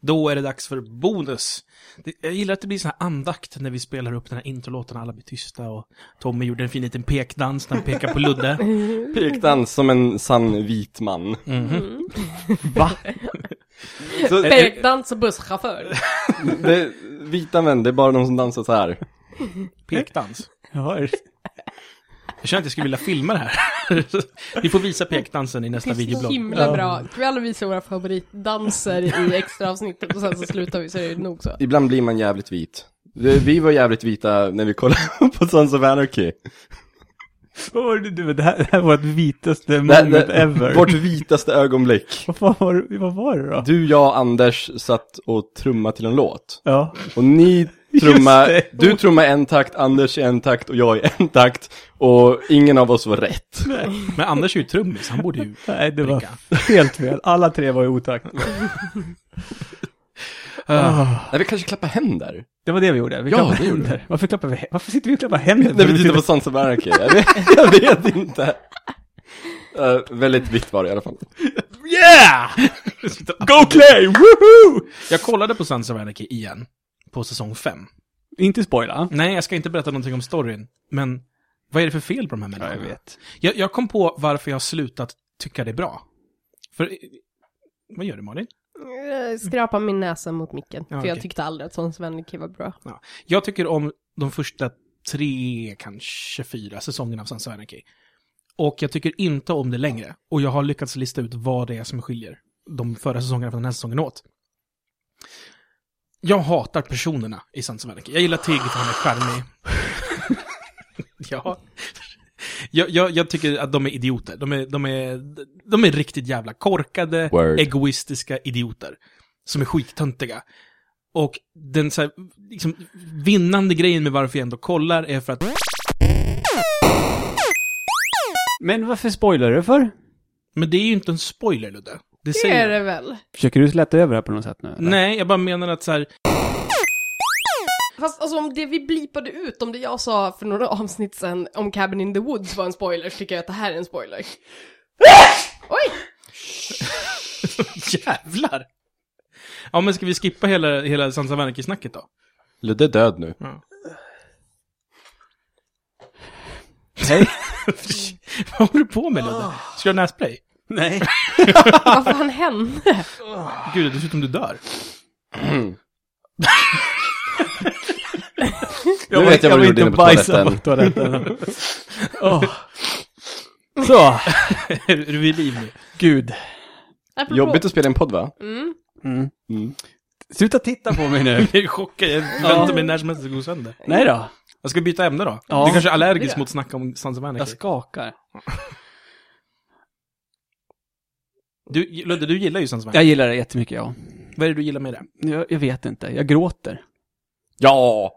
Då är det dags för bonus. Det, jag gillar att det blir sån här andakt när vi spelar upp den här introlåten, alla blir tysta och Tommy gjorde en fin liten pekdans när han pekar på Ludde. Pekdans som en sann vit man. Mm. Mhm. Va? Så, Eh, eh, Pekdans och busschaufför. det, vita män, det är bara de som dansar så här. Pekdans? Ja, är det- Jag känner att jag skulle vilja filma det här. Vi får visa pekdansen i Det nästa är så videoblogg. himla bra. Kan vi alla visa våra favoritdanser i extraavsnittet och sen så slutar vi så är det nog så. Ibland blir man jävligt vit. Det- Vi var jävligt vita när vi kollade på Sons of Anarchy. Vad var det du, det här, det här var ett vitaste Det- moment det- ever. Vårt vitaste ögonblick. Vad, fan var, det- vad var det då? Du, jag och Anders satt och trumma till en låt. Ja. Och ni trumma, Just det. du trumma en takt, Anders i en takt och jag i en takt. Och ingen av oss var rätt. Men Anders är ju trummis, han borde ju... Nej, det var Dricka. helt fel. Alla tre var i otakt. Ah, Nej, vi kanske klappar händer. Det var det vi gjorde. Vi Ja, klappade det gjorde händer. Varför klappar vi Varför sitter vi och klappar händer? När vi tittar på Sons of Anarchy. Jag vet, jag vet inte. Eh, väldigt vitt var det i alla fall. Yeah! Go Clay! Woohoo! Jag kollade på Sons of Anarchy igen. På säsong 5. Inte spoila. Nej, jag ska inte berätta någonting om storyn. Men vad är det för fel på de här människorna? jag vet. Jag, jag kom på varför jag har slutat tycka det är bra. För... eh, Vad gör du, Malin? Jag skrapar Eh, min näsa mot micken. Ja, för jag okej. tyckte aldrig att sån Svenneky var bra. Ja. Jag tycker om de första tre, kanske fyra säsongerna av Sons of Anarchy. Och jag tycker inte om det längre. Och jag har lyckats lista ut vad det är som skiljer de förra säsongerna från den här säsongen åt. Jag hatar personerna i Sons of Anarchy. Jag gillar Tig för han är charmig. ja. Jag, jag, jag tycker att de är idioter. De är, de är, de är riktigt jävla korkade, Word. egoistiska idioter. Som är skittöntiga. Och den så här, liksom, vinnande grejen med varför jag ändå kollar är för att Men varför spoilar du för? Men det är ju inte en spoiler, Ludde. Det Det säger är jag. det väl? Försöker du släta över det här på något sätt nu? eller? Nej, jag bara menar att så här, Fast alltså om det vi blipade ut, om det jag sa för några avsnitt sen om Cabin in the Woods var en spoiler, så tycker jag att det här är en spoiler. Oj! jävlar! Ja, men ska vi skippa hela, hela Sons of Anarchy-snacket då? Ludde är död nu. Nej. Vad håller du på med, Ah. Ludde? Ska du ha nässpray? Nej. Vad fan hände? Gud, dessutom du dör. Nu vet jag vad du gjorde inne på toaletten. toaletten. Åh. Så, är du vid liv nu? gud. Apropå- Jobbigt att spela en podd va? Mm. Mm. Sluta titta på mig nu. Jag är chockad, jag väntar mig när som helst att gå sönder. Nej då. Jag ska byta ämne då. Ja. Du kanske är allergisk Det. mot att snacka om Sons of Jag Anarchy? skakar. Du, Ludde, du gillar ju Sons of Anarchy. Jag gillar det jättemycket, ja. Vad är det du gillar med det? Jag, jag vet inte. Jag gråter. Ja!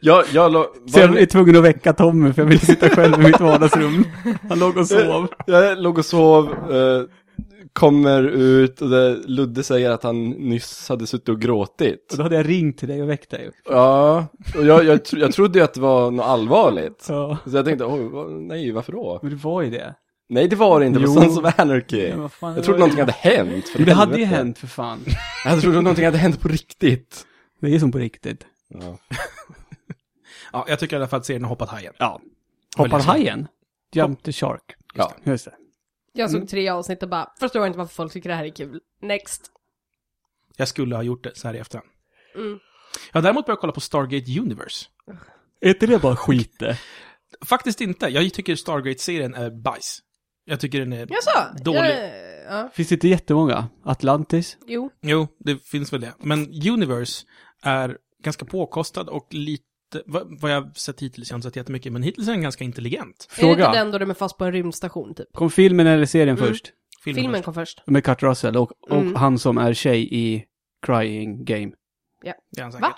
jag, jag, lo- Så var- jag är tvungen att väcka Tommy, för jag vill sitta själv i mitt vardagsrum. Han låg och sov. jag låg och sov, eh, kommer ut och det, Ludde säger att han nyss hade suttit och gråtit. Och då hade jag ringt till dig och väckt dig. Ja, och jag, jag, tro, jag trodde ju att det var något allvarligt. Så. Så jag tänkte, oj, vad- nej, varför då? Men det var ju det. Nej, det var det inte, det Jo. var Sons of Anarchy. Men vad fan, det Jag trodde var ju- någonting hade hänt. för Men det hade ju helvete. hänt, för fan. Jag trodde någonting hade hänt på riktigt. Det är som på riktigt. Ja. Ja, jag tycker i alla fall att serien har hoppat hajen. Ja. Väl Hoppar liksom. hajen? Jump the shark. Ja. Just det. Jag Mm. såg tre avsnitt och bara, förstår inte varför folk tycker det här är kul. Next. Jag skulle ha gjort det så här i efterhand. Mm. Jag har däremot börjat kolla på Stargate Universe. Är inte det bara skit det? Faktiskt inte. Jag tycker Stargate-serien är bajs. Jag tycker den är... Jaså? Dålig. Jag, ja. Finns det inte jättemånga? Atlantis? Jo. Jo, det finns väl det. Men Universe är ganska påkostad och lite... Vad, vad jag har sett hittills, jag har inte sett jättemycket, men hittills är den ganska intelligent. Är det inte Fråga. den då de är fast på en rymdstation typ? Kom filmen eller serien Mm. först? Filmen. Filmen först. kom först. Med Kurt Russell och, och Mm. han som är tjej i Crying Game. Det är han säkert. Va?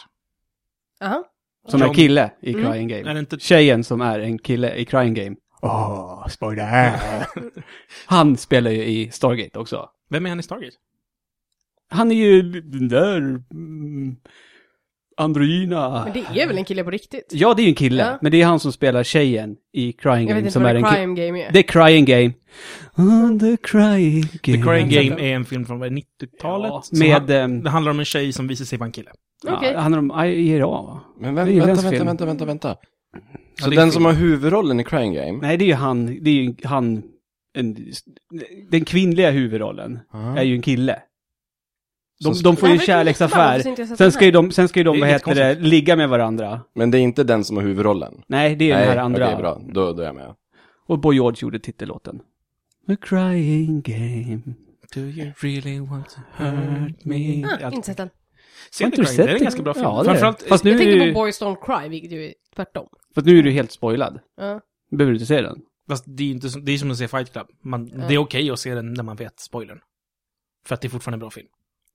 Aha. Som John- är kille i Mm. Crying Är det Game. inte... Tjejen som är en kille i Crying Game. Åh, oh, spoiler! han spelar ju i Stargate också. Vem är han i Stargate? Han är ju där... mm, Androgyna. Men det är väl en kille på riktigt? Ja, det är ju en kille. Ja. Men det är han som spelar tjejen i Crying Jag vet Game inte som vad är det en kille. crime game är. Det är Crying Game. Oh, the Crying The Game. Crying Game är en film från vad är det, 90-talet. Ja, Som med... han- ehm, det handlar om en tjej som visar sig vara en kille. Okej. Ja, handlar om IRA va? Men Det är vem, ju vänta, hennes vänta, film. vänta, vänta, vänta. Ja, Så det är den film. som har huvudrollen i Crying Game? Nej, det är ju han, det är ju han, en, den kvinnliga huvudrollen Ah. är ju en kille. De, Så- de får Det ju här en verkar jättebra, varför kärleksaffär. inte jag sett Sen den ska ju de, sen ska ju Det de är vad heter det, jättekonstigt. ligga med varandra. Men det är inte den som har huvudrollen? Nej, det är Nej, den här andra. Okej, bra. Då, då är jag med. Och Boy George gjorde titellåten. The crying game. Do you really want to hurt me? här? Ah, Allt- inte sett den. Se Har The inte Crying, du det är sett en den? ganska bra film. Ja, det är det. Framförallt, Fast nu, Jag är tänkte på du, Boys Don't Cry, vilket ju är tvärtom. fast nu är du helt spoilad. Ja. Nu behöver du inte se den. fast det är ju inte som, det är som att se Fight Club. Man, Det är okej att se den när man vet spoilern. För att det är fortfarande en bra film.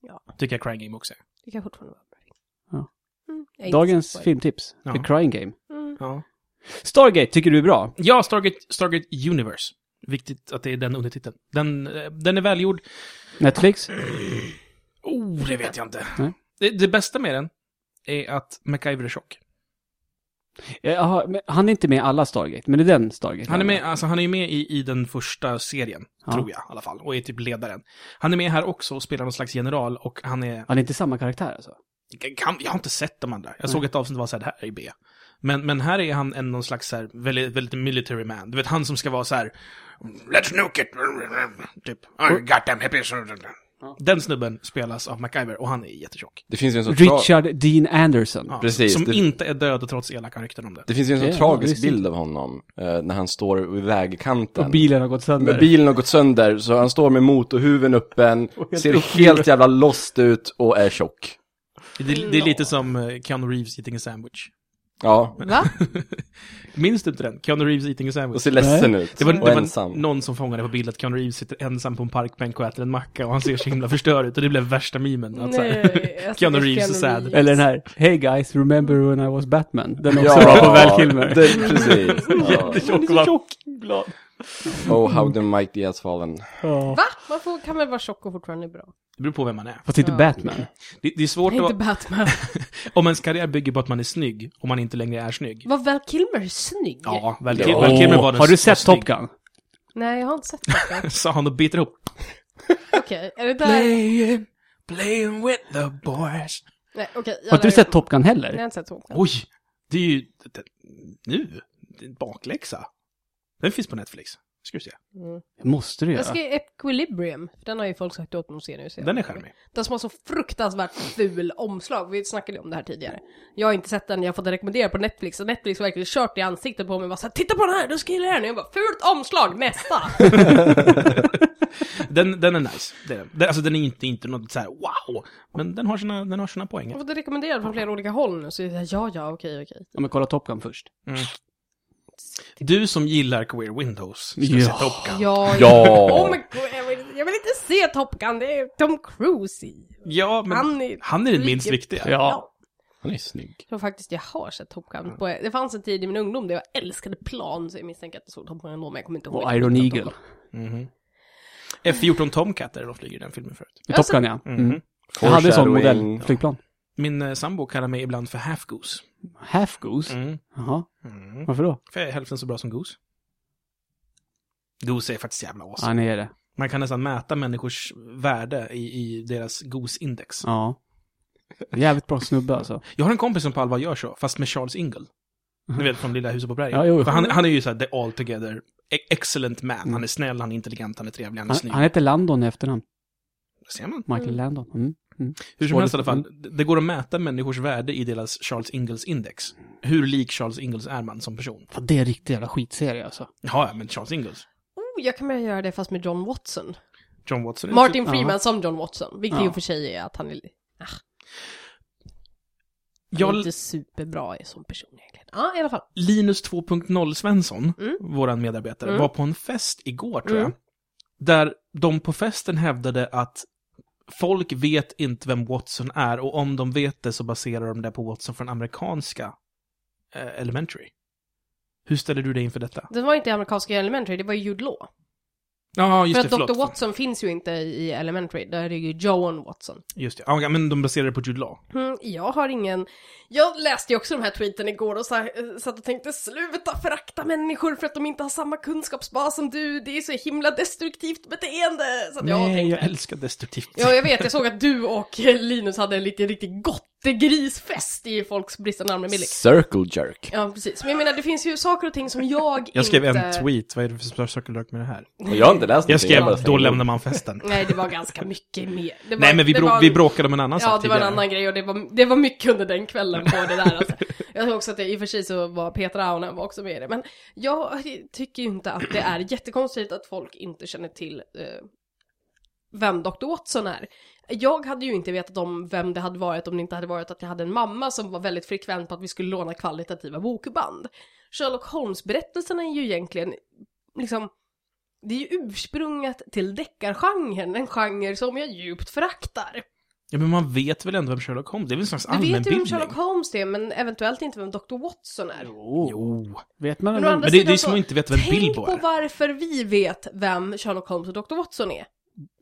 Ja. Tycker jag Crying Game också är. Det kan fortfarande vara bra. Ja. Mm, jag är inte Dagens så på det. filmtips. Ja. The crying game. Mm. Ja. Stargate tycker du är bra. Ja, Stargate, Stargate Universe. Viktigt att det är den undertiteln. Den, eh, den är välgjord. Netflix. Oh, det vet jag inte. Nej. Det, det bästa med den är att MacGyver är tjock. Jaha, men han är inte med i alla Stargate, men det är den Stargate. Han är med, alltså han är ju med i, i den första serien, Ja. tror jag i alla fall, och är typ ledaren. Han är med här också och spelar någon slags general och han är... Han är inte samma karaktär alltså? Kan, jag har inte sett de andra. Jag såg ett avsnitt och var så här, det här är B. Men, men här är han en någon slags så här, väldigt, väldigt military man. Du vet, han som ska vara så här, Let's nuke it! Typ, I got them hippies. Den snubben spelas av MacGyver och han är jättetjock. Det finns ju en sån tra- Richard Dean Anderson. Ja, Precis, Som det- inte är död och trots elaka rykten om det. det finns ju en sån Ja, tragisk visst. bild av honom eh, när han står vid vägkanten. Och bilen har gått sönder. Men bilen har gått sönder, så han står med motorhuven öppen, helt ser uppgiven. helt jävla lost ut och är tjock. Det, det är lite som eh, Keanu Reeves eating a sandwich. Ja, Va? Minns du inte den? Keanu Reeves eating a sandwich. och ser ledsen ut. Det var, det och var ensam. någon som fångade på bild att Keanu Reeves sitter ensam på en parkbänk och äter en macka och han ser så himla förstörd ut och det blev värsta memen. Att så här, Nej, alltså, jag Keanu tycker Reeves är sad. Reeves. Eller den här, Hey guys, remember when I was Batman? Den är också bra på Val Ja, Kilmer. det, precis. Ja. Jättetjock och bara, glad. Oh, how the mighty has fallen. Ja. Va? Man får, kan väl vara tjock och fortfarande bra? Det beror på vem man är. Fast inte Ja. Batman. Det, det är svårt Nej, inte att... Batman. Om ens karriär bygger på att man är snygg, om man inte längre är snygg. Var Val Kilmer snygg? Ja, Val Ja. Kil- Val Kilmer var den har du som var sett Top snygg. Gun? Nej, jag har inte sett det. Sa han och biter ihop. Okej, är det där... Playing, playing with the boys. Nej, okej. jag Har inte du lär sett ut- Top Gun heller? Nej, jag har inte sett Top Gun. Oj, det är ju... Det, det, nu? Det är en bakläxa. Den finns på Netflix. Ska du se. Mm. Måste du göra? Jag ska i Equilibrium, för den har ju folk sagt åt mig att se nu. så jag- Den är charmig. Den som har så fruktansvärt ful omslag. Vi snackade ju om det här tidigare. Jag har inte sett den, jag har fått den rekommenderad på Netflix och Netflix har verkligen kört i ansiktet på mig och bara såhär, titta på den här, du ska gilla den. Och jag bara, fult omslag, nästa! Den, den är nice. Det är den. Den, alltså den är inte, inte något så här wow, men den har sina, den har sina Jag poänger. har fått den rekommenderad från flera olika håll nu, så jag säger ja, ja, okej, okej. Ja, men kolla Top Gun först. Du som gillar Queer Windows, ska Ja. se Top Gun. Ja, Ja! Oh my god, jag vill, jag vill inte se Top Gun, det är Tom Cruise i. Ja, men han Han är, är- den minst viktiga. Ja. Han är snygg. Jag tror faktiskt jag har sett Top Gun. På, det fanns en tid i min ungdom där jag älskade plan, så jag misstänker att jag såg Top Gun ändå, men jag kommer inte ihåg. Och Iron Eagle. Mhm. F-14 Tomcat är det de flyger i den filmen förut. Ja, Alltså- Top Gun ja. Mm. Mhm. Jag hade sån Foreshadowing. modell, flygplan. Min eh, sambo kallar mig ibland för Half Goose. Half Goose? Mm. Jaha, Mm. varför då? För jag är hälften så bra som Goose. Goose är faktiskt jävla awesome. Han är det. Man kan nästan mäta människors värde i, i deras Goose-index. Ja. Jävligt bra snubbe alltså. Jag har en kompis som på allvar gör så, fast med Charles Ingle. Ni vet, från Lilla huset på berget. Mm-hmm. Ja, jo, jo. För han, han är ju såhär the all together e- excellent man. Han är snäll, han är intelligent, han är trevlig, han är Han, snygg. han heter Landon i efternamn. Ser man? Michael Landon. Mm. Hur som helst i alla fall, det- det går att mäta människors värde i deras Charles Ingles index. Hur lik Charles Ingles är man som person? Fan, det är en riktig jävla skitserie alltså. Ja, ja, men Charles Ingles. Oh, jag kan börja göra det fast med John Watson. John Watson. är- typ- Martin Freeman Ja. som John Watson, vilket Ja. ju för sig är att han är, ah, han är Jag, inte superbra som person egentligen. Ja, i alla fall. Linus 2.0 Svensson, Mm. våran medarbetare, Mm. var på en fest igår tror jag. Mm. Där de på festen hävdade att folk vet inte vem Watson är och om de vet det så baserar de det på Watson från amerikanska eh, Elementary. Hur ställer du dig inför detta? Det var inte amerikanska elementary, det var ju Jude Law. Ja, just För det, att förlåt. Dr. Watson finns ju inte i Elementary, där är det ju Joan Watson. Just det. Ja, men de baserar det på Jude Law. Mm, jag har ingen... Jag läste ju också de här tweeten igår och så här, eh, satt och tänkte sluta förakta människor för att de inte har samma kunskapsbas som du, det är så himla destruktivt beteende! Så att jag Nej, tänkte... jag älskar destruktivt. Ja, jag vet, jag såg att du och eh, Linus hade en liten riktig gottegrisfest i folks bristande namn med Millie. Circle jerk. Ja, precis. Men jag menar, det finns ju saker och ting som jag Jag skrev inte... en tweet, vad är det för circle jerk med det här? Och jag har inte läst Jag någonting, skrev, bara tänkte- då lämnar man festen. Nej, det var ganska mycket mer. Mm. Det var, Nej, men vi, det brå- var- vi bråkade om en annan Ja, sak det var en tidigare. annan grej och det var, det var mycket under den kvällen på det där alltså. Jag tror också att det, i och för sig så var Peter Aunen var också med i det. Men jag tycker ju inte att det är jättekonstigt att folk inte känner till eh, vem Dr. Watson är. Jag hade ju inte vetat om vem det hade varit om det inte hade varit att jag hade en mamma som var väldigt frekvent på att vi skulle låna kvalitativa bokband. Sherlock Holmes-berättelserna är ju egentligen liksom det är ju ursprunget till deckargenren, en genre som jag djupt föraktar. Ja, men man vet väl ändå vem Sherlock Holmes Det är väl en slags Du vet ju allmänbildning? vem Sherlock Holmes är, men eventuellt inte vem Dr. Watson är. Oh. Jo. Vet man Men å men, andra Men det, det är sidan ju som så- att inte veta vem Alltså, Tänk Bilbo på är. varför vi vet vem Sherlock Holmes och Dr. Watson är.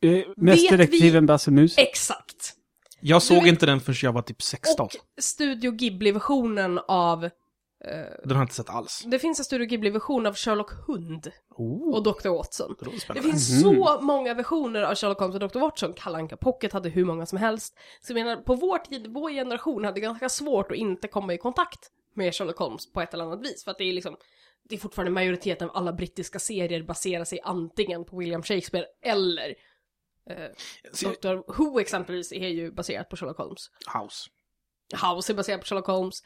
eh, Mästerdetektiven Basse Mus. Exakt. Jag såg vet- inte den förrän jag var typ 16. Och Studio Ghibli-versionen av... eh, Den har jag inte sett alls. det finns en Studio Ghibli-version av Sherlock Hund Oh, och Dr. Watson. det låter Det spännande. finns så många versioner av Sherlock Holmes och Dr. Watson. Kalle Anka Pocket hade hur många som helst. Så jag menar, på vår tid, vår generation hade ganska svårt att inte komma i kontakt med Sherlock Holmes på ett eller annat vis. För att det är liksom, det är fortfarande majoriteten av alla brittiska serier baserar sig antingen på William Shakespeare eller Så jag- Dr. Who exempelvis är ju baserat på Sherlock Holmes. House. House är baserad på Sherlock Holmes.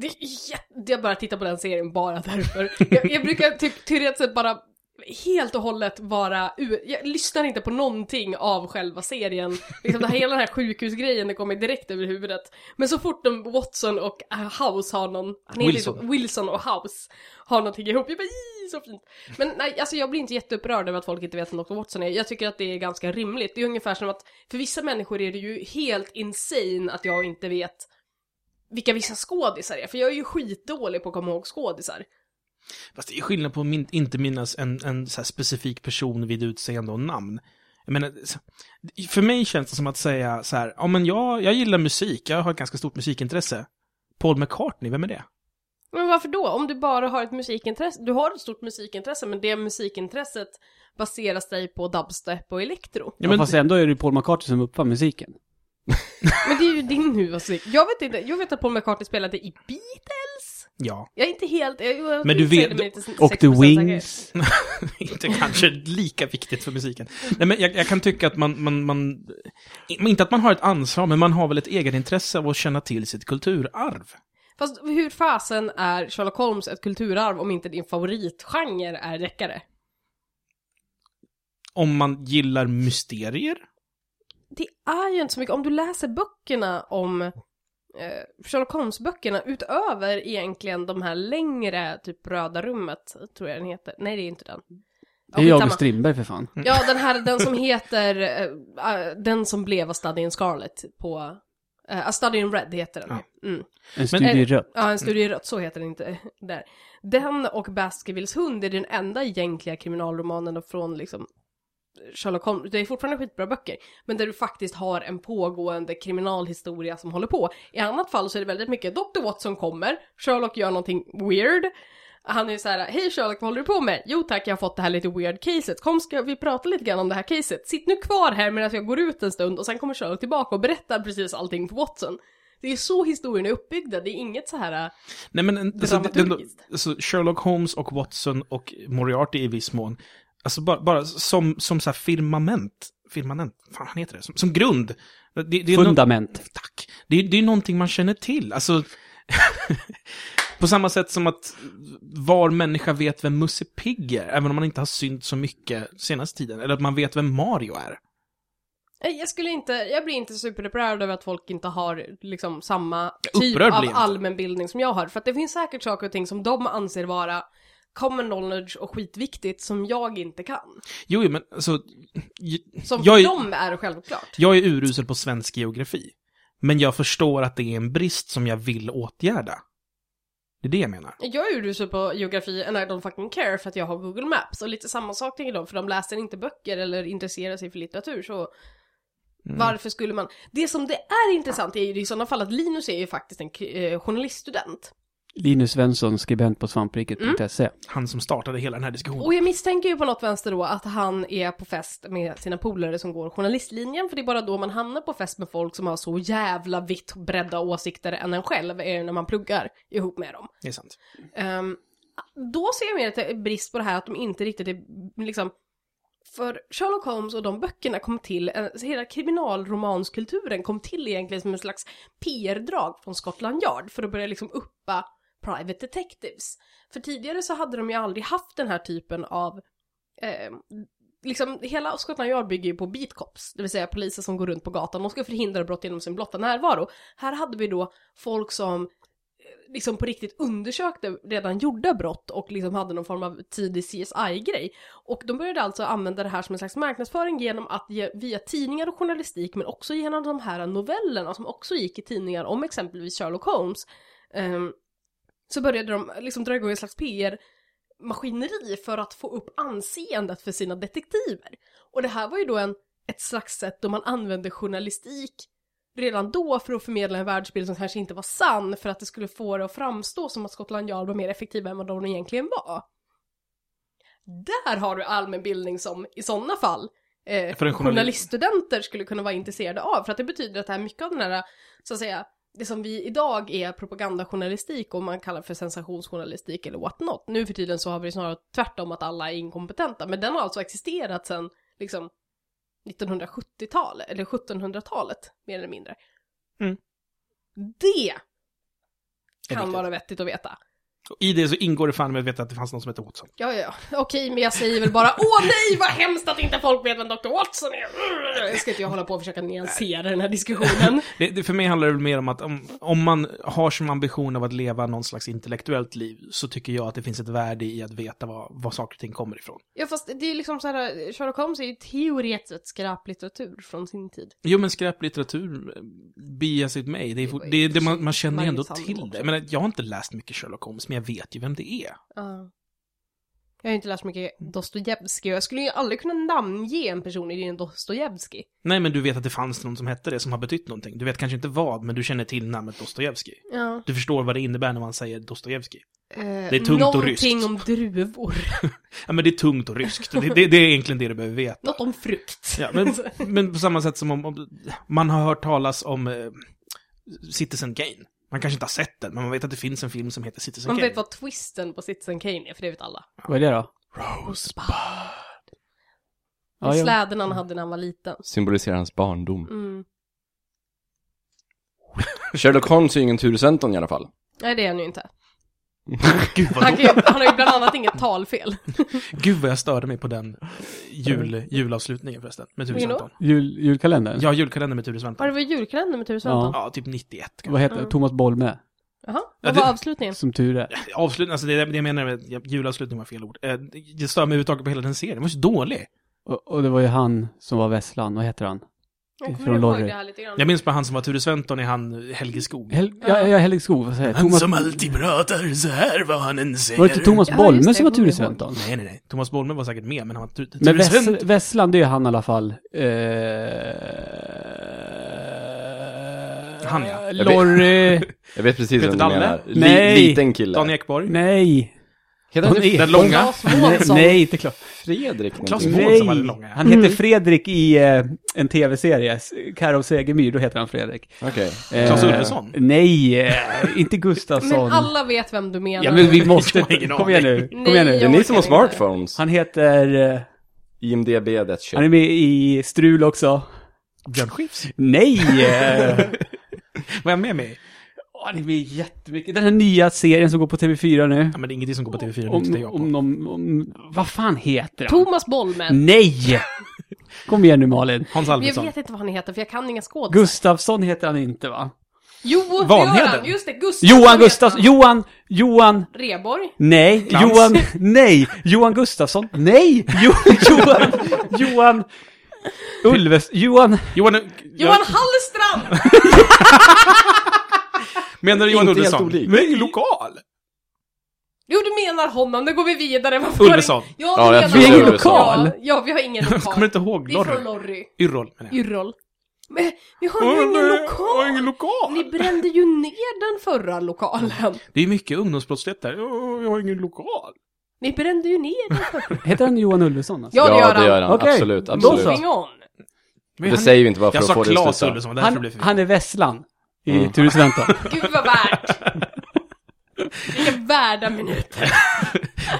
Det är jätte... Jag bara tittar på den serien bara därför. Jag, jag brukar typ teoretiskt sett bara helt och hållet vara u- Jag lyssnar inte på någonting av själva serien. Liksom den här, hela den här sjukhusgrejen, det kommer direkt över huvudet. Men så fort de Watson och eh, House har någon... Han heter Wilson. typ Wilson och House har någonting ihop. Jag bara, "Ii, så fint. Men nej, alltså jag blir inte jätteupprörd över att folk inte vet vem Dr. Watson är. Jag tycker att det är ganska rimligt. Det är ungefär som att för vissa människor är det ju helt insane att jag inte vet vilka vissa skådisar är, för jag är ju skitdålig på att komma ihåg skådisar. Fast det är skillnad på att min- inte minnas en, en så här specifik person vid utseende och namn. Jag menar, så- för mig känns det som att säga så här, ja men jag, jag gillar musik, jag har ett ganska stort musikintresse. Paul McCartney, vem är det? Men varför då? Om du bara har ett musikintresse, du har ett stort musikintresse, men det musikintresset baseras dig på dubstep och electro. Ja, men... Fast ändå är det ju Paul McCartney som uppfann musiken. Men det är ju din huvudmusik. Jag vet inte, jag vet att Paul McCartney spelade i Beatles. Ja, Jag är inte helt, jag, jag Men du säger vet- det med lite s- Och The 6% säkerhet. Wings. inte kanske lika viktigt för musiken. Nej, men jag, jag kan tycka att man, man, man, i- inte att man har ett ansvar, men man har väl ett egenintresse av att känna till sitt kulturarv. Fast hur fasen är Sherlock Holmes ett kulturarv om inte din favoritgenre är deckare? Om man gillar mysterier, det är ju inte så mycket, om du läser böckerna om eh, Sherlock Holmes-böckerna utöver egentligen de här längre, typ Röda rummet, tror jag den heter. Nej, det är inte den. Ja, Det är ju skitsamma. August Strindberg för fan. Ja, den här, den som heter, eh, eh, den som blev A Study in Scarlet på, eh, A Study in Red heter den. Mm. En studie i rött. Ja, en studie i rött, så heter den inte där. Den och Baskervilles hund är den enda egentliga kriminalromanen från liksom Sherlock Holmes. Det är fortfarande skitbra böcker, men där du faktiskt har en pågående kriminalhistoria som håller på. I annat fall så är det väldigt mycket Dr. Watson kommer, Sherlock gör någonting weird. Han är ju så här, hej Sherlock, vad håller du på med? Jo tack, jag har fått det här lite weird caset. Kom ska vi prata lite grann om det här caset. Sitt nu kvar här medan jag går ut en stund och sen kommer Sherlock tillbaka och berättar precis allting för Watson. Det är så historien är uppbyggda, det är inget så här... äh, Nej men en- alltså, det- det- Dramaturgiskt. alltså, Sherlock Holmes och Watson och Moriarty i viss mån. Alltså bara, bara som, som så här firmament. Firmament? Fan, han heter det. Som, som grund. Det, det är nå- Fundament. Tack. Det, är- det är någonting man känner till. Alltså... på samma sätt som att var människa vet vem Musse Pigg är, även om man inte har synt så mycket senaste tiden. Eller att man vet vem Mario är. Nej, Jag skulle inte, jag blir inte superupprörd över att folk inte har liksom samma typ Upprörd av blir jag inte. allmänbildning som jag har. För att det finns säkert saker och ting som de anser vara common knowledge och skitviktigt som jag inte kan. Jo, jo, men alltså... j- Som Jag för är- dem är självklart. Jag är urusel på svensk geografi. Men jag förstår att det är en brist som jag vill åtgärda. Det är det jag menar. Jag är ju rusad på geografi and I don't fucking care för att jag har Google Maps och lite samma sak tänker de för de läser inte böcker eller intresserar sig för litteratur så Mm. varför skulle man? Det som det är intressant är ju i sådana fall att Linus är ju faktiskt en kri- eh, journaliststudent. Linus Svensson, skribent på svampriket.se. Mm. Han som startade hela den här diskussionen. Och jag misstänker ju på något vänster då att han är på fest med sina polare som går journalistlinjen för det är bara då man hamnar på fest med folk som har så jävla vitt bredda åsikter än en själv är det när man pluggar ihop med dem. Det är sant. Ehm, då ser jag mer att det är brist på det här att de inte riktigt är liksom... För Sherlock Holmes och de böckerna kom till, eh, så hela kriminalromanskulturen kom till egentligen som en slags PR-drag från Scotland Yard för att börja liksom uppa private detectives. För tidigare så hade de ju aldrig haft den här typen av eh, liksom hela Scotland Yard bygger ju på beat cops, det vill säga poliser som går runt på gatan och ska förhindra brott genom sin blotta närvaro. Här hade vi då folk som eh, liksom på riktigt undersökte redan gjorda brott och liksom hade någon form av tidig CSI-grej. Och de började alltså använda det här som en slags marknadsföring genom att ge, via tidningar och journalistik men också genom de här novellerna som också gick i tidningar om exempelvis Sherlock Holmes. ehm, så började de liksom dra igång en slags PR maskineri för att få upp anseendet för sina detektiver. Och det här var ju då en, ett slags sätt då man använde journalistik redan då för att förmedla en världsbild som kanske inte var sann för att det skulle få det att framstå som att Scotland Yard var mer effektiva än vad de egentligen var. Där har du allmänbildning som i sådana fall eh, För en journali- journaliststudenter skulle kunna vara intresserade av för att det betyder att det här mycket av den här, så att säga, det som vi idag är propagandajournalistik och man kallar för sensationsjournalistik eller what not. Nu för tiden så har vi det snarare tvärtom att alla är inkompetenta, men den har alltså existerat sedan liksom 1970-talet, eller 1700-talet mer eller mindre. Mm. Det Är kan viktigt. vara vettigt att veta. Och I det så ingår det fan med att veta att det fanns någon som hette Watson. Ja, ja, ja. Okej, men jag säger väl bara åh nej vad hemskt att inte folk vet vem Dr. Watson är. Urr! Ska inte jag hålla på och försöka nyansera den här diskussionen? Det, det, för mig handlar det väl mer om att om, om man har som ambition av att leva någon slags intellektuellt liv så tycker jag att det finns ett värde i att veta vad, vad saker och ting kommer ifrån. Ja fast det är liksom så här, Sherlock Holmes är ju teoretiskt sett skräplitteratur från sin tid. Jo, men skräplitteratur eh, bias sig mig. Det är, fort- det, är det man, man känner ju ändå Magnus till Sandholm det. också. Men jag har inte läst mycket Sherlock Holmes, men jag vet ju vem det är. Ja. Jag har ju inte läst mycket Dostojevskij och jag skulle ju aldrig kunna namnge en person i din Dostojevskij. Nej, men du vet att det fanns någon som hette det som har betytt någonting. Du vet kanske inte vad, men du känner till namnet Dostojevskij. Ja. Du förstår vad det innebär när man säger Dostojevskij. Eh, är tungt och Någonting ryskt. om druvor. Ja, men det är tungt och ryskt. Det, det, det är egentligen det du behöver veta. Något om frukt. Ja, men, men på samma sätt som om, om man har hört talas om eh, Citizen Kane. Man kanske inte har sett den, men man vet att det finns en film som heter Citizen Man Kane. vet vad twisten på Citizen Kane är, för det vet alla. Vad är det då? Rosebud. Ja, jag- Släden han hade när han var liten. Symboliserar hans barndom. Mm. Sherlock Holmes är ju ingen Turesenton i alla fall. Nej, det är han ju inte. Gud, Han, vad, kan ju, han har ju bland annat inget talfel. gud vad jag störde mig på den eh, jul, julavslutningen förresten, med Ture Mm. Vilken då? Sventon. Jul, julkalendern? Ja, julkalender med Ture Var det Sventon. väl julkalender med Ture Sventon? Ja, typ 91 kanske. Vad heter Mm. Thomas Bolme, Jaha, Ja, vad det- var avslutningen? som tur är. Avslutning, alltså det, är det jag menar med ja, julavslutning var fel ord. Eh, Det stör mig överhuvudtaget på hela den serien, den var så dålig. Och, och det var ju han som var Vesslan, vad heter han? Jag kommer Från ihåg Lorry. det här lite grann. Jag minns bara han som var Ture Sventon i han eh, Helge Skog. Hel ja, ja, Helge Skog, vad säger jag? Thomas... alltid pratar så här vad han än säger. Var det inte Thomas Ja, Bolme just det, som var jag kommer Ture ihåg. Sventon? Nej, nej, nej. Thomas Bolme var säkert med, men han var Ture Men Ture Sventon. Vess Vesslan, det är ju han i alla fall. Eh... Han, ja. eh, Lorry... Jag vet precis Peter vem du Dalle? menar. Li- Nej. Liten kille. Dan Ekborg. Nej. Heter han Dan typ Ek- Den långa. Nej, Månsson. nej, inte klart. Fredrik Claes någonting? Månsson var den långa. ja. Han heter Fredrik i eh, en tv-serie. S- Karo Segemyhr, då heter han Fredrik. Okej. Claes Eh, Ulfsson? Nej, eh, inte Gustafsson. Men alla vet vem du menar. Ja, men vi måste... Jag har ingen Kom igen nu. aning. Kom igen Det nu. är Jag ni som har orkar inte. smartphones. Han heter... eh, IMDB, that Han är shit. med i Strul också. Björn Skifs? Nej! eh, Var jag med mig? åh, Han är med i jättemycket. Den här nya serien som går på TV4 nu. Ja, men det är ingenting som går på TV4 nu, så det är Om, jag om på. de... Om, vad fan heter han? Thomas Mm. Bolmen. Nej! Kom igen nu Malin. Hans Jag Alfredsson. vet inte vad han heter för jag kan inga skådisar. Gustafsson heter han inte va? Jo, det gör Vanheden. han. Just det, Gustafsson Johan heter Gustafsson, han. Johan, Johan, Reborg. nej, Glans. Johan, nej, Johan Gustafsson, nej, jo, Johan, Johan, Ulves, Johan, Johan... Jag, Johan Hallstrand! menar du Johan Inte helt Ulfsson? olik. Nej, lokal! Jo, du menar honom, nu går vi vidare. Varför var det- Ulveson. Ja, Ja, jag du menar tror det är honom. lokal. Ja, ja, vi har ingen lokal. Jag kommer inte ihåg det är från Lorry. Lorry. Yrrol menar jag. Yrrol. Men vi har ju ingen lokal! Ingen lokal! Ni brände ju ner den förra lokalen. Det är mycket ungdomsbrottslighet där. Åh, Jag har ingen lokal. Ni brände ju ner den förra. Heter han Johan Ulveson? Alltså? Ja, det gör det han. gör han. Okej. Absolut, Då absolut. så. Moving on. Men Det han- säger vi inte bara för Jag att få sa det att Claes sluta. Ulveson, därför Han, blev det han är Vesslan i Mm. Turisväntan. Gud vad värt! Vilka värda minuter.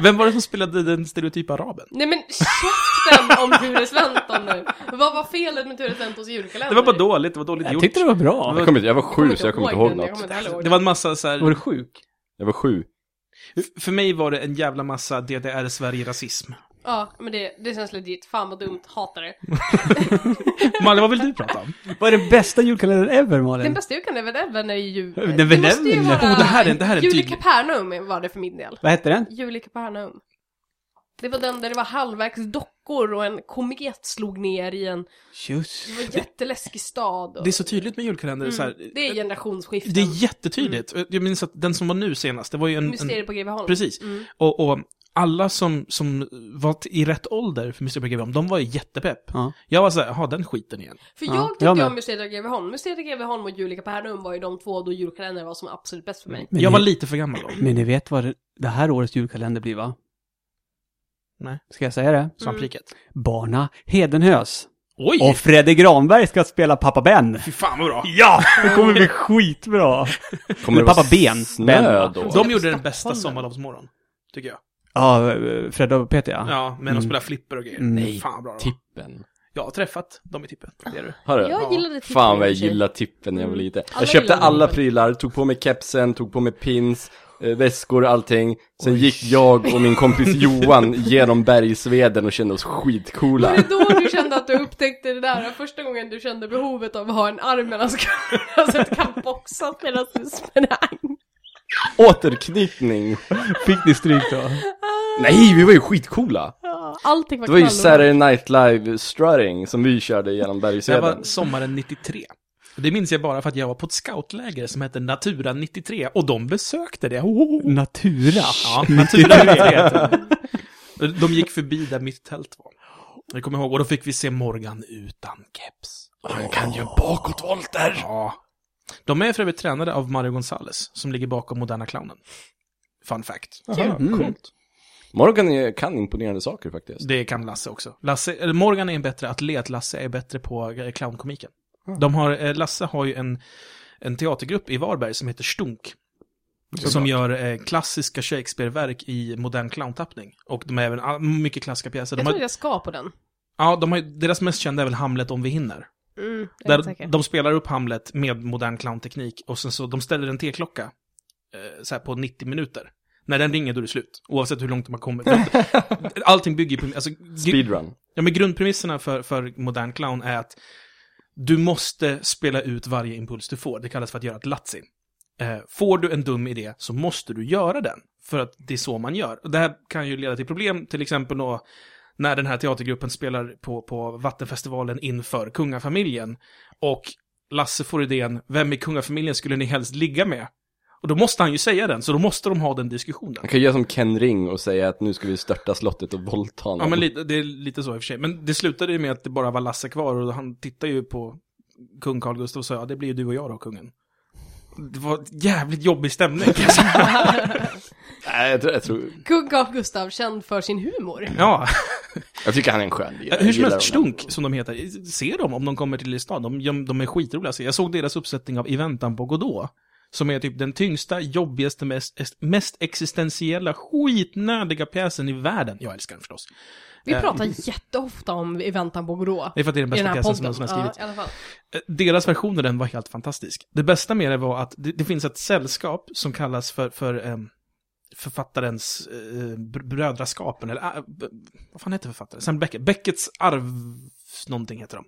Vem var det som spelade den stereotypa araben? Nej men käften om Ture Sventon nu. Vad var felet med Ture Sventons Det julkalender? var bara dåligt, det var dåligt Jag gjort. tyckte det var bra. Jag, kommer inte, jag var sju, så jag kommer inte ihåg den, jag något. kommer inte heller Det ihåg var en massa så Var här, du sjuk? Jag var sju. För mig var det en jävla massa DDR-Sverige-rasism. Ja, men det, det känns legit. Fan vad dumt. Hatar det. Malle, vad vill du prata om? Vad är den bästa julkalendern ever, Malin? Den bästa julkalendern är väl även är ju... Den väl även? Oh, det här är- det här är Jul i tydligt. Kapernaum var det för min del. Vad hette den? Jul i Kapernaum. Det var den där det var halvvägs dockor och en komet slog ner i en... Just Det var en jätteläskig stad. Och... Det är så tydligt med julkalender. Så här, Mm, det är generationsskiften. det är jättetydligt. Mm. Jag minns att den som var nu senast, det var ju en... en Mysteriet på Greveholm. precis. Mm. Och, och alla som, som var t- i rätt ålder för Mr. Begge de var ju jättepepp. Ja. Jag var så här, ha den skiten igen. För Ja, jag tyckte jag med. om Mysteriet på Greveholm. Mysteriet på Greveholm och Julika Pernum var ju de två då julkalendern var som absolut bäst för mig. Men jag ni- var lite för gammal då. Men ni vet vad det- det här årets julkalender blir, va? Nej. Ska jag säga det? Svampriket. Barna Hedenhös. Oj! Och Fredrik Granberg ska spela pappa Ben. Fy fan vad bra! Ja! Det kommer bli skitbra. Kommer Men det vara pappa Ben, Ben, Snö va? då? De gjorde den Stockholm. bästa sommarlovsmorgon, tycker jag. Ja, Fredde och Peter ja. Ja, men de Mm. spelar flipper och grejer. Mm. Nej, fan vad bra det var. Tippen. Jag har träffat dem i tippen. Det är du. Har du? Jag Ja. gillade typ Tippen Fan vad jag i och för sig. Mm. gillade tippen när jag var liten. Alla Jag köpte gillade alla tippen. prylar, tog på mig kepsen, tog på mig pins, eh, väskor, allting. Sen gick jag och min kompis Johan genom bergsveden och kände oss skitcoola. Var det då du kände att du upptäckte det där? Första gången du kände behovet av att ha en arm mellan skulderna så att du kan boxa medan du sprang. Återknytning! Fick ni stryk då? Nej, vi var ju skitcoola! Ja, Allting var Det var ju knall- Saturday Night Live strutting som vi körde genom Det bergsveden. var sommaren 93. Och Det minns jag bara för att jag var på ett scoutläger som hette Natura 93 och de besökte det. Oh. Natura. Ja, Natura 93 heter det. De gick förbi där mitt tält var. Jag kommer ihåg, och då fick vi se Morgan utan keps. Han kan ju bakåtvolter! Ja. De är för övrigt tränade av Mario Gonzales, som ligger bakom Moderna Clownen. Fun fact. Mm. Morgan är- kan imponerande saker faktiskt. Det kan Lasse också. Lasse, eller Morgan är en bättre atlet, Lasse är bättre på eh, clownkomiken. De har, eh, Lasse har ju en, en teatergrupp i Varberg som heter Stunk. Som gör eh, klassiska Shakespeare-verk i modern clowntappning. Och de är även ah, mycket klassiska pjäser. De Jag har, tror jag ska på den. ja, de har, ju- deras mest kända är väl Hamlet om vi hinner. Mm, jag är inte Där säker. de spelar upp Hamlet med modern clownteknik och sen så de ställer en teklocka eh, så här på 90 minuter. När den ringer då är det slut, oavsett hur långt de har kommit. Allting bygger ju på... Alltså, gr- Speedrun. ja, men grundpremisserna för, för modern clown är att du måste spela ut varje impuls du får. Det kallas för att göra ett latsin. Eh, får du en dum idé så måste du göra den, för att det är så man gör. Och det här kan ju leda till problem, till exempel då när den här teatergruppen spelar på, på Vattenfestivalen inför kungafamiljen. Och Lasse får idén, vem i kungafamiljen skulle ni helst ligga med? Och då måste han ju säga den, så då måste de ha den diskussionen. Man kan göra som Ken Ring och säga att nu ska vi störta slottet och våldta honom. Ja, men lite, det är lite så i och för sig. Men det slutade ju med att det bara var Lasse kvar och han tittade ju på kung Carl Gustaf och sa ja, det blir ju du och jag då, kungen. Det var jävligt jobbig stämning. Nej, jag, tror, jag, tror, Kung Carl Gustav, känd för sin humor. ja, jag tycker han är en skön jag hur som gillar helst, honom. Stunk, som de heter, se dem om de kommer till stan. De, de- de är skitroliga att se. Jag såg deras uppsättning av I väntan på Godot. Som är typ den tyngsta, jobbigaste, mest, mest existentiella, skitnödiga pjäsen i världen. Jag älskar den förstås. Vi Eh. pratar jätteofta om I väntan på Godot. Det är för att det är den I den bästa här pjäsen som podden. någonsin har Ja, skrivits. i alla fall. Eh, deras version av den var helt fantastisk. Det bästa med det var att det, det finns ett sällskap som kallas för, för ehm, författarens eh, br- brödraskapen, eller ah, b- vad fan heter författaren? Sam Beckett. Beckets arv, någonting heter de.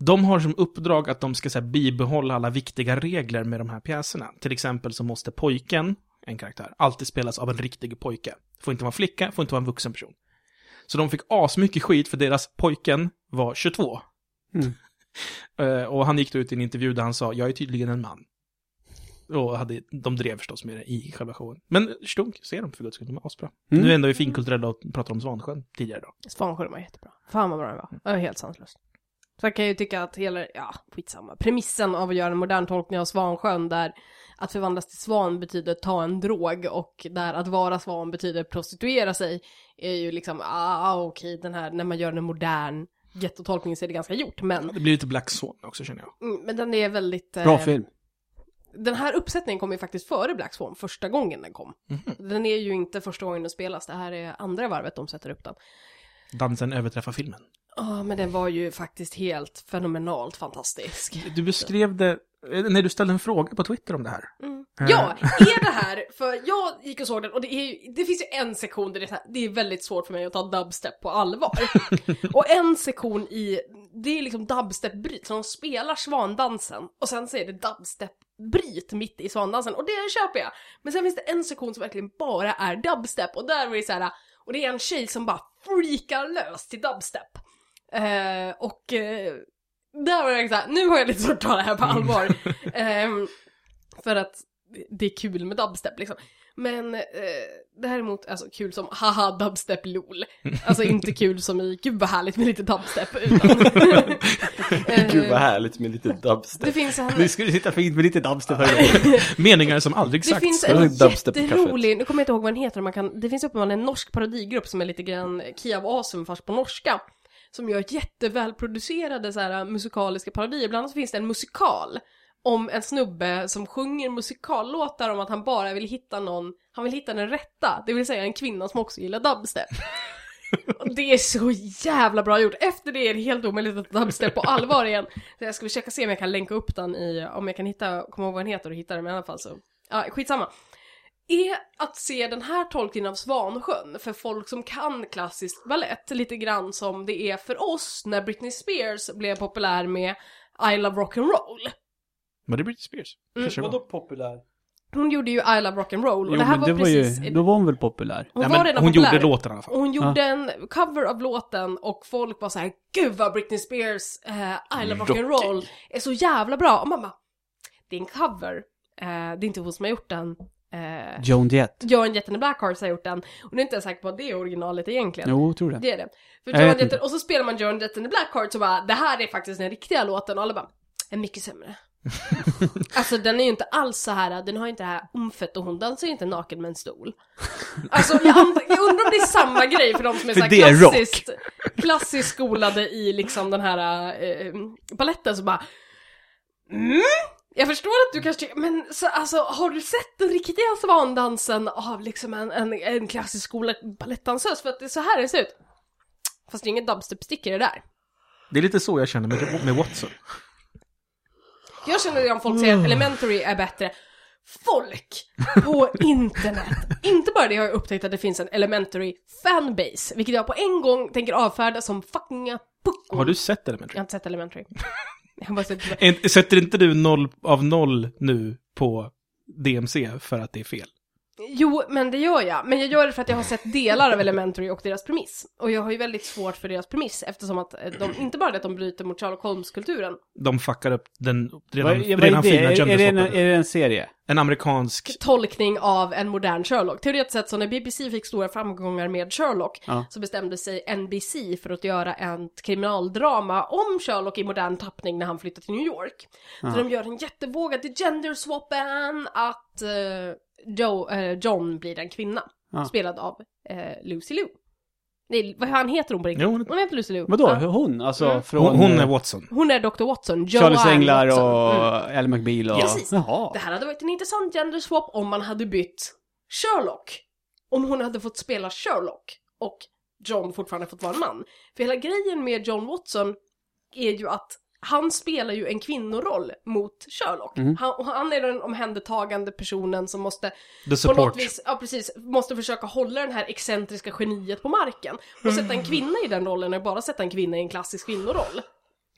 De har som uppdrag att de ska så här, bibehålla alla viktiga regler med de här pjäserna. Till exempel så måste pojken, en karaktär, alltid spelas av en riktig pojke. Får inte vara en flicka, får inte vara en vuxen person. Så de fick asmycket skit för deras pojken var 22. Eh, Och han gick då ut i en intervju där han sa, jag är tydligen en man. Och hade, de drev förstås med det i själva showen. Men Stunk, se dem för guds skull, de är asbra. Mm. Nu är ändå vi finkulturella och pratar om Svansjön tidigare idag. Svansjön var jättebra. Fan vad bra den var. Mm. Det var helt sanslöst. Sen kan jag ju tycka att hela, ja skitsamma, premissen av att göra en modern tolkning av Svansjön där att förvandlas till svan betyder ta en drog och där att vara svan betyder prostituera sig är ju liksom, ah okej den här, när man gör den modern jättetolkning så är det ganska gjort men, Det blir lite Black Swan också känner jag. mm, men den är väldigt... eh, Bra film. Den här uppsättningen kom ju faktiskt före Black Swan första gången den kom. Mhm. Den är ju inte första gången den spelas, det här är andra varvet de sätter upp den. Dansen överträffar filmen. Ja, men den var ju faktiskt helt fenomenalt fantastisk. Du beskrev det, eh, när du ställde en fråga på Twitter om det här. Ja, är det här, för jag gick och såg den och det, är ju, det finns ju en sektion där det är, så här, det är väldigt svårt för mig att ta dubstep på allvar. och en sektion i, det är liksom dubstep-bryt, så de spelar svandansen och sen så är det dubstep-bryt mitt i svandansen och det köper jag. Men sen finns det en sektion som verkligen bara är dubstep och där var det så här, och det är en tjej som bara freakar lös till dubstep. Eh, och eh, där var jag så här, nu har jag lite svårt att ta det här på Mm. allvar. Ehm, för att det är kul med dubstep liksom. Men eh, däremot, alltså kul som haha dubstep lol. Alltså inte kul som i gud vad härligt med lite dubstep utan... Eh, Gud vad härligt med lite det dubstep. finns en... Nu skulle sitta fint med lite dubstep här. Meningar som aldrig Det sagts. finns Det var en ett dubstep-café. jätterolig, nu kommer jag inte ihåg vad den heter, man kan, det finns uppenbarligen en norsk parodigrupp som är lite grann Kia av Asum fast på norska. Som gör jättevälproducerade så här, äh, musikaliska parodier, bland annat så finns det en musikal om en snubbe som sjunger musikallåtar om att han bara vill hitta någon, han vill hitta den rätta, det vill säga en kvinna som också gillar dubstep. Och Det är så jävla bra gjort. Efter det är det helt omöjligt att dubstep på allvar igen. Så jag ska försöka se om jag kan länka upp den i, om jag kan hitta, komma ihåg vad den heter och hitta den men i alla fall så. Ja, skitsamma. Är att se den här tolkningen av Svansjön för folk som kan klassisk ballett lite grann som det är för oss när Britney Spears blev populär med I love rock'n'roll. Var det Britney Spears? Mm, Kanske det var. populär? Hon gjorde ju I love rock'n'roll och Jo, det här men var det var ju, precis... då var hon väl populär? Hon Ja, var men redan hon populär. gjorde låten i alla fall. Och hon gjorde en cover av låten och folk var så här: gud vad Britney Spears eh, I love rock'n'roll är så jävla bra. Och man bara, det är en cover. Eh, det är inte hon som har gjort den. Eh, Joan Jett. Joan Jett and the Blackhearts har gjort den. Och nu är inte jag säker på att det är originalet egentligen. Jo, tror det. Det är det. För Jag Joan vet Jett, inte. och så spelar man Joan Jett and the Blackhearts och bara, det här är faktiskt den riktiga låten. Och alla bara, en mycket sämre. alltså den är ju inte alls så här, den har ju inte det här omfett och hon dansar ju inte naken med en stol. Alltså jag, ant- jag undrar om det är samma grej för de som är så här För det är rock. klassiskt, klassiskt skolade i liksom den här eh, baletten så bara, mm? Jag förstår att du kanske tycker- men så, alltså har du sett den riktiga svandansen av liksom en, en, en klassisk skola balettdansös? För att det är så här det ser ut. Fast det är ingen dubstep-stick i det där. Det är lite så jag känner med, med Watson. Jag känner det om folk säger att Mm. elementary är bättre. Folk på internet! Inte bara det har jag upptäckt att det finns en elementary fanbase, vilket jag på en gång tänker avfärda som fucking puckor. Har du sett Elementary? Jag har inte sett elementary. Jag har bara sett... En- Sätter inte du noll av noll nu på DMC för att det är fel? Jo, men det gör jag. Men jag gör det för att jag har sett delar av Elementary och deras premiss. Och jag har ju väldigt svårt för deras premiss eftersom att eh, de, inte bara det att de bryter mot Sherlock Holmes-kulturen. De fuckar upp den Vad- redan, vad är redan det? fina Är- är, det en, genderswappen. är det en serie? En amerikansk... Tolkning av en modern Sherlock. Teoretiskt sett så när BBC fick stora framgångar med Sherlock Ja. så bestämde sig NBC för att göra ett kriminaldrama om Sherlock i modern tappning när han flyttade till New York. Ja. Så de gör en jättevågad till genderswappen att eh, Joe, eh, John blir en kvinna. Ja. Spelad av eh, Lucy Liu. Nej, vad han heter hon på riktigt? Jo, hon- Hon heter Lucy Liu. Vadå, Ja. hon? Alltså Mm. från... Hon, hon är eh, Watson. Hon är Dr. Watson, Joanne Charles Englar och Watson. Mm. Ally McBeal och... Precis. Jaha. Det här hade varit en intressant genderswap om man hade bytt Sherlock. Om hon hade fått spela Sherlock och John fortfarande fått vara en man. För hela grejen med John Watson är ju att han spelar ju en kvinnoroll mot Sherlock. Mm. Han, och han är den omhändertagande personen som måste The på något support. vis, ja precis, måste försöka hålla den här excentriska geniet på marken. Och sätta en kvinna i den rollen och bara sätta en kvinna i en klassisk kvinnoroll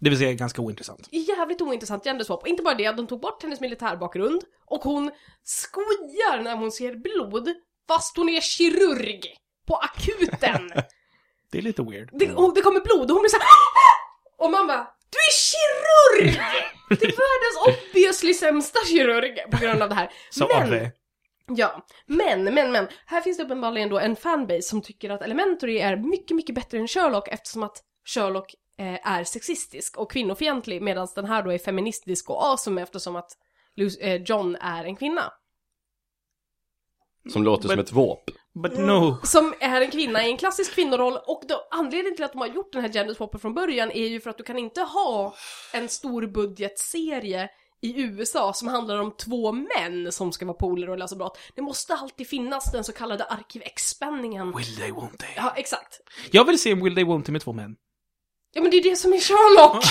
Det vill säga ganska ointressant. jävligt ointressant genderswap. Och inte bara det, de tog bort hennes militärbakgrund och hon skojar när hon ser blod fast hon är kirurg på akuten. Det är lite weird. Mm. Det, och det kommer blod och hon blir såhär Och man bara Du är kirurg! Det är världens obviously blir sämsta kirurg på grund av det här. Så Men- Arre. Ja, men, men, men. Här finns det uppenbarligen då en fanbase som tycker att Elementary är mycket, mycket bättre än Sherlock eftersom att Sherlock eh, är sexistisk och kvinnofientlig medan den här då är feministisk och awesome eftersom att Lu- eh, John är en kvinna. Som låter som Men- ett våp. But Mm. no. Som är en kvinna i en klassisk kvinnoroll och då, anledningen till att de har gjort den här genderswappen från början är ju för att du kan inte ha en stor budgetserie i USA som handlar om två män som ska vara polare och lösa brott. Det måste alltid finnas den så kallade arkivexspänningen. Will they, won't they? Ja, exakt. Jag vill se en Will they, won't they med två män. Ja men det är det som är Sherlock!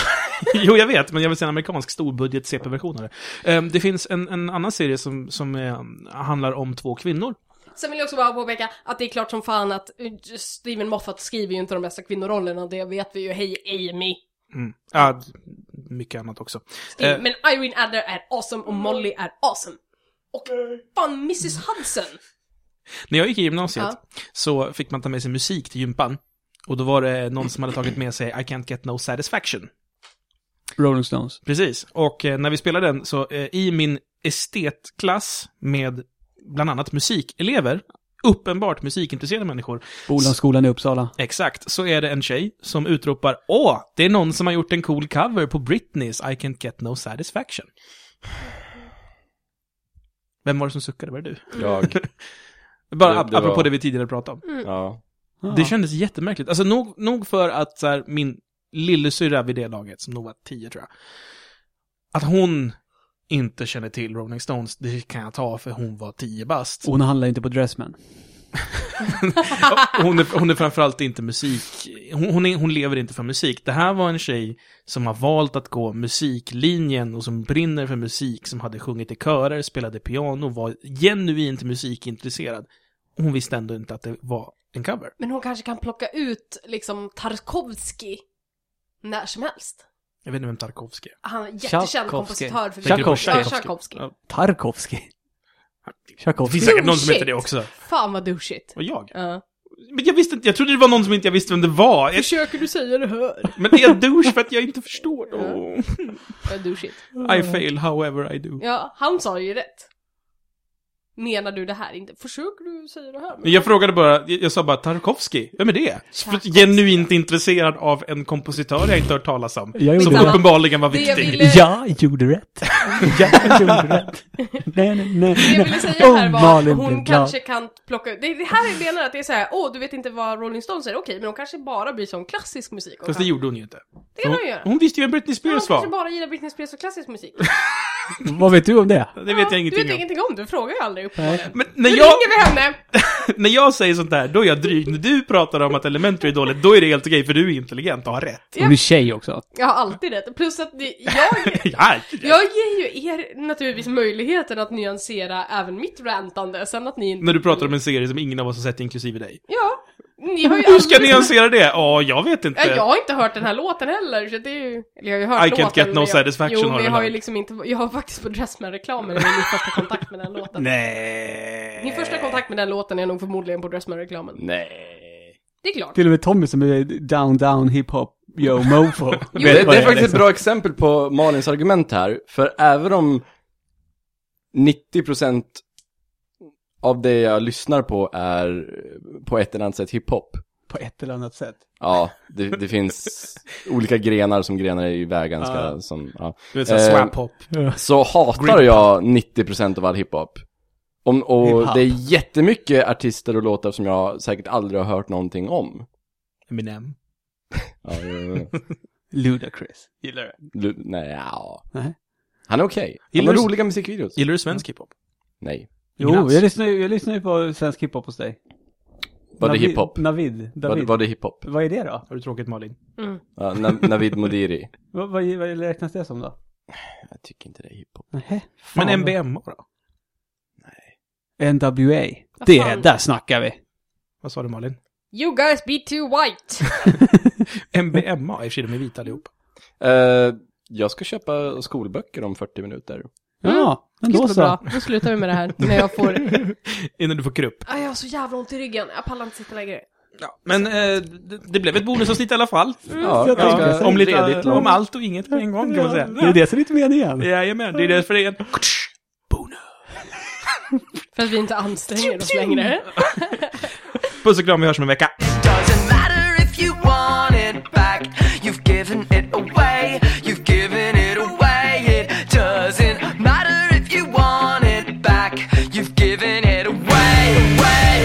jo, jag vet, men jag vill se en amerikansk storbudget CP-version av det. Ehm, det finns en, en annan serie som, som eh, handlar om två kvinnor. Sen vill jag också bara påpeka att det är klart som fan att eh, Steven Moffat skriver ju inte de bästa kvinnorollerna, det vet vi ju. Hej Amy! Mm. Ja, mycket annat också. Steve, Eh. Men Irene Adler är awesome och Molly är awesome. Och fan Mrs Hudson! När jag gick i gymnasiet Ja. så fick man ta med sig musik till gympan. Och då var det någon som hade tagit med sig I can't get no satisfaction. Rolling Stones. Precis. Och eh, när vi spelade den så eh, i min estetklass med bland annat musikelever, uppenbart musikintresserade människor, Bolansskolan i Uppsala. exakt, så är det en tjej som utropar Åh, det är någon som har gjort en cool cover på Britneys I can't get no satisfaction. Vem var det som suckade? Var det du? Jag. Bara Det- ap- det var- apropå det vi tidigare pratade om. Ja. Ah. Det kändes jättemärkligt. Alltså nog, nog för att så här, min lillasyrra vid det laget, som nog var 10 tror jag, att hon inte kände till Rolling Stones, det kan jag ta för hon var 10 bast. Hon handlar inte på Dressman. Och Hon är, hon är framförallt inte musik, hon, hon, är, hon lever inte för musik. Det här var en tjej som har valt att gå musiklinjen och som brinner för musik, som hade sjungit i körer, spelade piano, var genuint musikintresserad. Hon visste ändå inte att det var en cover. Men hon kanske kan plocka ut liksom Tarkovsky när som helst. Jag vet inte vem Tarkovsky är. Han är jättekänd Tchaikovsky. kompositör för Tänker du på Ja, Tchaikovsky? Tchaikovsky. Ja. Tarkovsky. Det finns Tchaikovsky. säkert någon som heter det Shit. också. Fan vad douchigt. Och jag? Ja. Men jag visste inte, jag trodde det var någon som inte jag visste vem det var. Jag, Försöker du säga det här? men det är en douche för att jag inte förstår. Oh. Ja, douchigt. I fail however I do. Ja, han sa ju rätt. Menar du det här inte? Försöker du säga det här? Men Jag frågade bara, jag jag sa bara Tarkovsky, vem är det? Tarkovsky. Genuint intresserad av en kompositör jag inte hört talas om. Jag gjorde Som Skitsamma. rätt. uppenbarligen var Det jag viktig. ville- Jag gjorde rätt. Jag gjorde rätt. Nej, nej, nej. Det jag ville säga här Åh, var Oh, Malin att hon blev glad. kanske kan plocka ut... Det, det här är menar att det är så här, åh du vet inte vad Rolling Stones är, okej men hon kanske bara bryr sig om klassisk musik. Och Fast det gjorde hon ju inte. det kan Hon, hon göra. hon visste ju vem Britney Hon Spears kanske var. bara gillar Britney Spears och klassisk musik. Vad vet du om det? Det vet jag Du vet ingenting om. ingenting om, du frågar ju aldrig uppenbarligen. Men när Nu jag, ringer vi henne! när jag säger sånt där, då är jag dryg. När du pratar om att Elementary är dåligt, då är det helt okej, för du är intelligent och har rätt. Hon är tjej också. Jag har alltid rätt. Plus att det, jag, Ja, jag ger ju er naturligtvis möjligheten att nyansera även mitt rantande, sen att ni inte... När du pratar om en serie som ingen av oss har sett, inklusive dig. Ja. Ni har ju Hur ska jag aldrig- nyansera det? Ja, jag vet inte. Ja, jag har inte hört den här låten heller, så det är ju... Eller jag har ju hört eh, I can't låten, get no men jag... satisfaction Jo, har men den jag har här. ju liksom inte... Jag har faktiskt på Dressman-reklamen i min första kontakt med den låten. Nej. Min första kontakt med den låten är nog förmodligen på Dressman-reklamen. Nej. Det är klart. Till och med Tommy som är down, down, hiphop, yo, mofo. Det, det är vad faktiskt liksom. ett bra exempel på Malins argument här, för även om 90% av det jag lyssnar på är eh, på ett eller annat sätt hiphop. På ett eller annat sätt. Ja, det, det finns olika grenar som grenar iväg ganska, Ja. som, ja. Du vet såhär, Eh, swap hop. Så hatar Grip. jag 90% av all hiphop. Om, och Hiphop. det är jättemycket artister och låtar som jag säkert aldrig har hört någonting om. Eminem. Ja, eh, Ludacris. Gillar du? Lu- nej, ja. Nej. Han är okej. Han Gillar har du- roliga musikvideos. Gillar du svensk hiphop? Nej. Jo, Ingen alls. jag lyssnar, ju- jag lyssnar ju på svensk hiphop hos dig. Var det Navid- hiphop? Navid. Var, David. var det hiphop? Vad är det då? Har du tråkigt Malin? Mm. Ja, Na- Navid Modiri. Vad, vad, vad räknas det som då? Jag tycker inte det är hiphop. Nähä. Fan, Men vad- MBMA då? NWA. Vad Det, fan? där snackar vi. Vad sa du Malin? You guys be too white! MBMA, i och för sig de är vita allihop. Eh, jag ska köpa skolböcker om 40 minuter. Ja, men då Gud vad så. bra, då slutar vi med det här. När jag får... Innan du får krupp. Aj, jag har så jävla ont i ryggen. Jag pallar inte sitta längre. Ja, men eh, det, det blev ett bonusavsnitt i alla fall. Ja, jag ganska tänker- om, lite, redigt långt. om allt och inget på en gång kan man säga. Det är det som är lite meningen. Jajamän, det är därför det är en... Bonus. För att vi inte anstränger oss längre. Puss och kram, vi hörs om en vecka. Doesn't matter if you want it back. You've given it away. You've given it away. It doesn't matter if you want it back. You've given it away, away,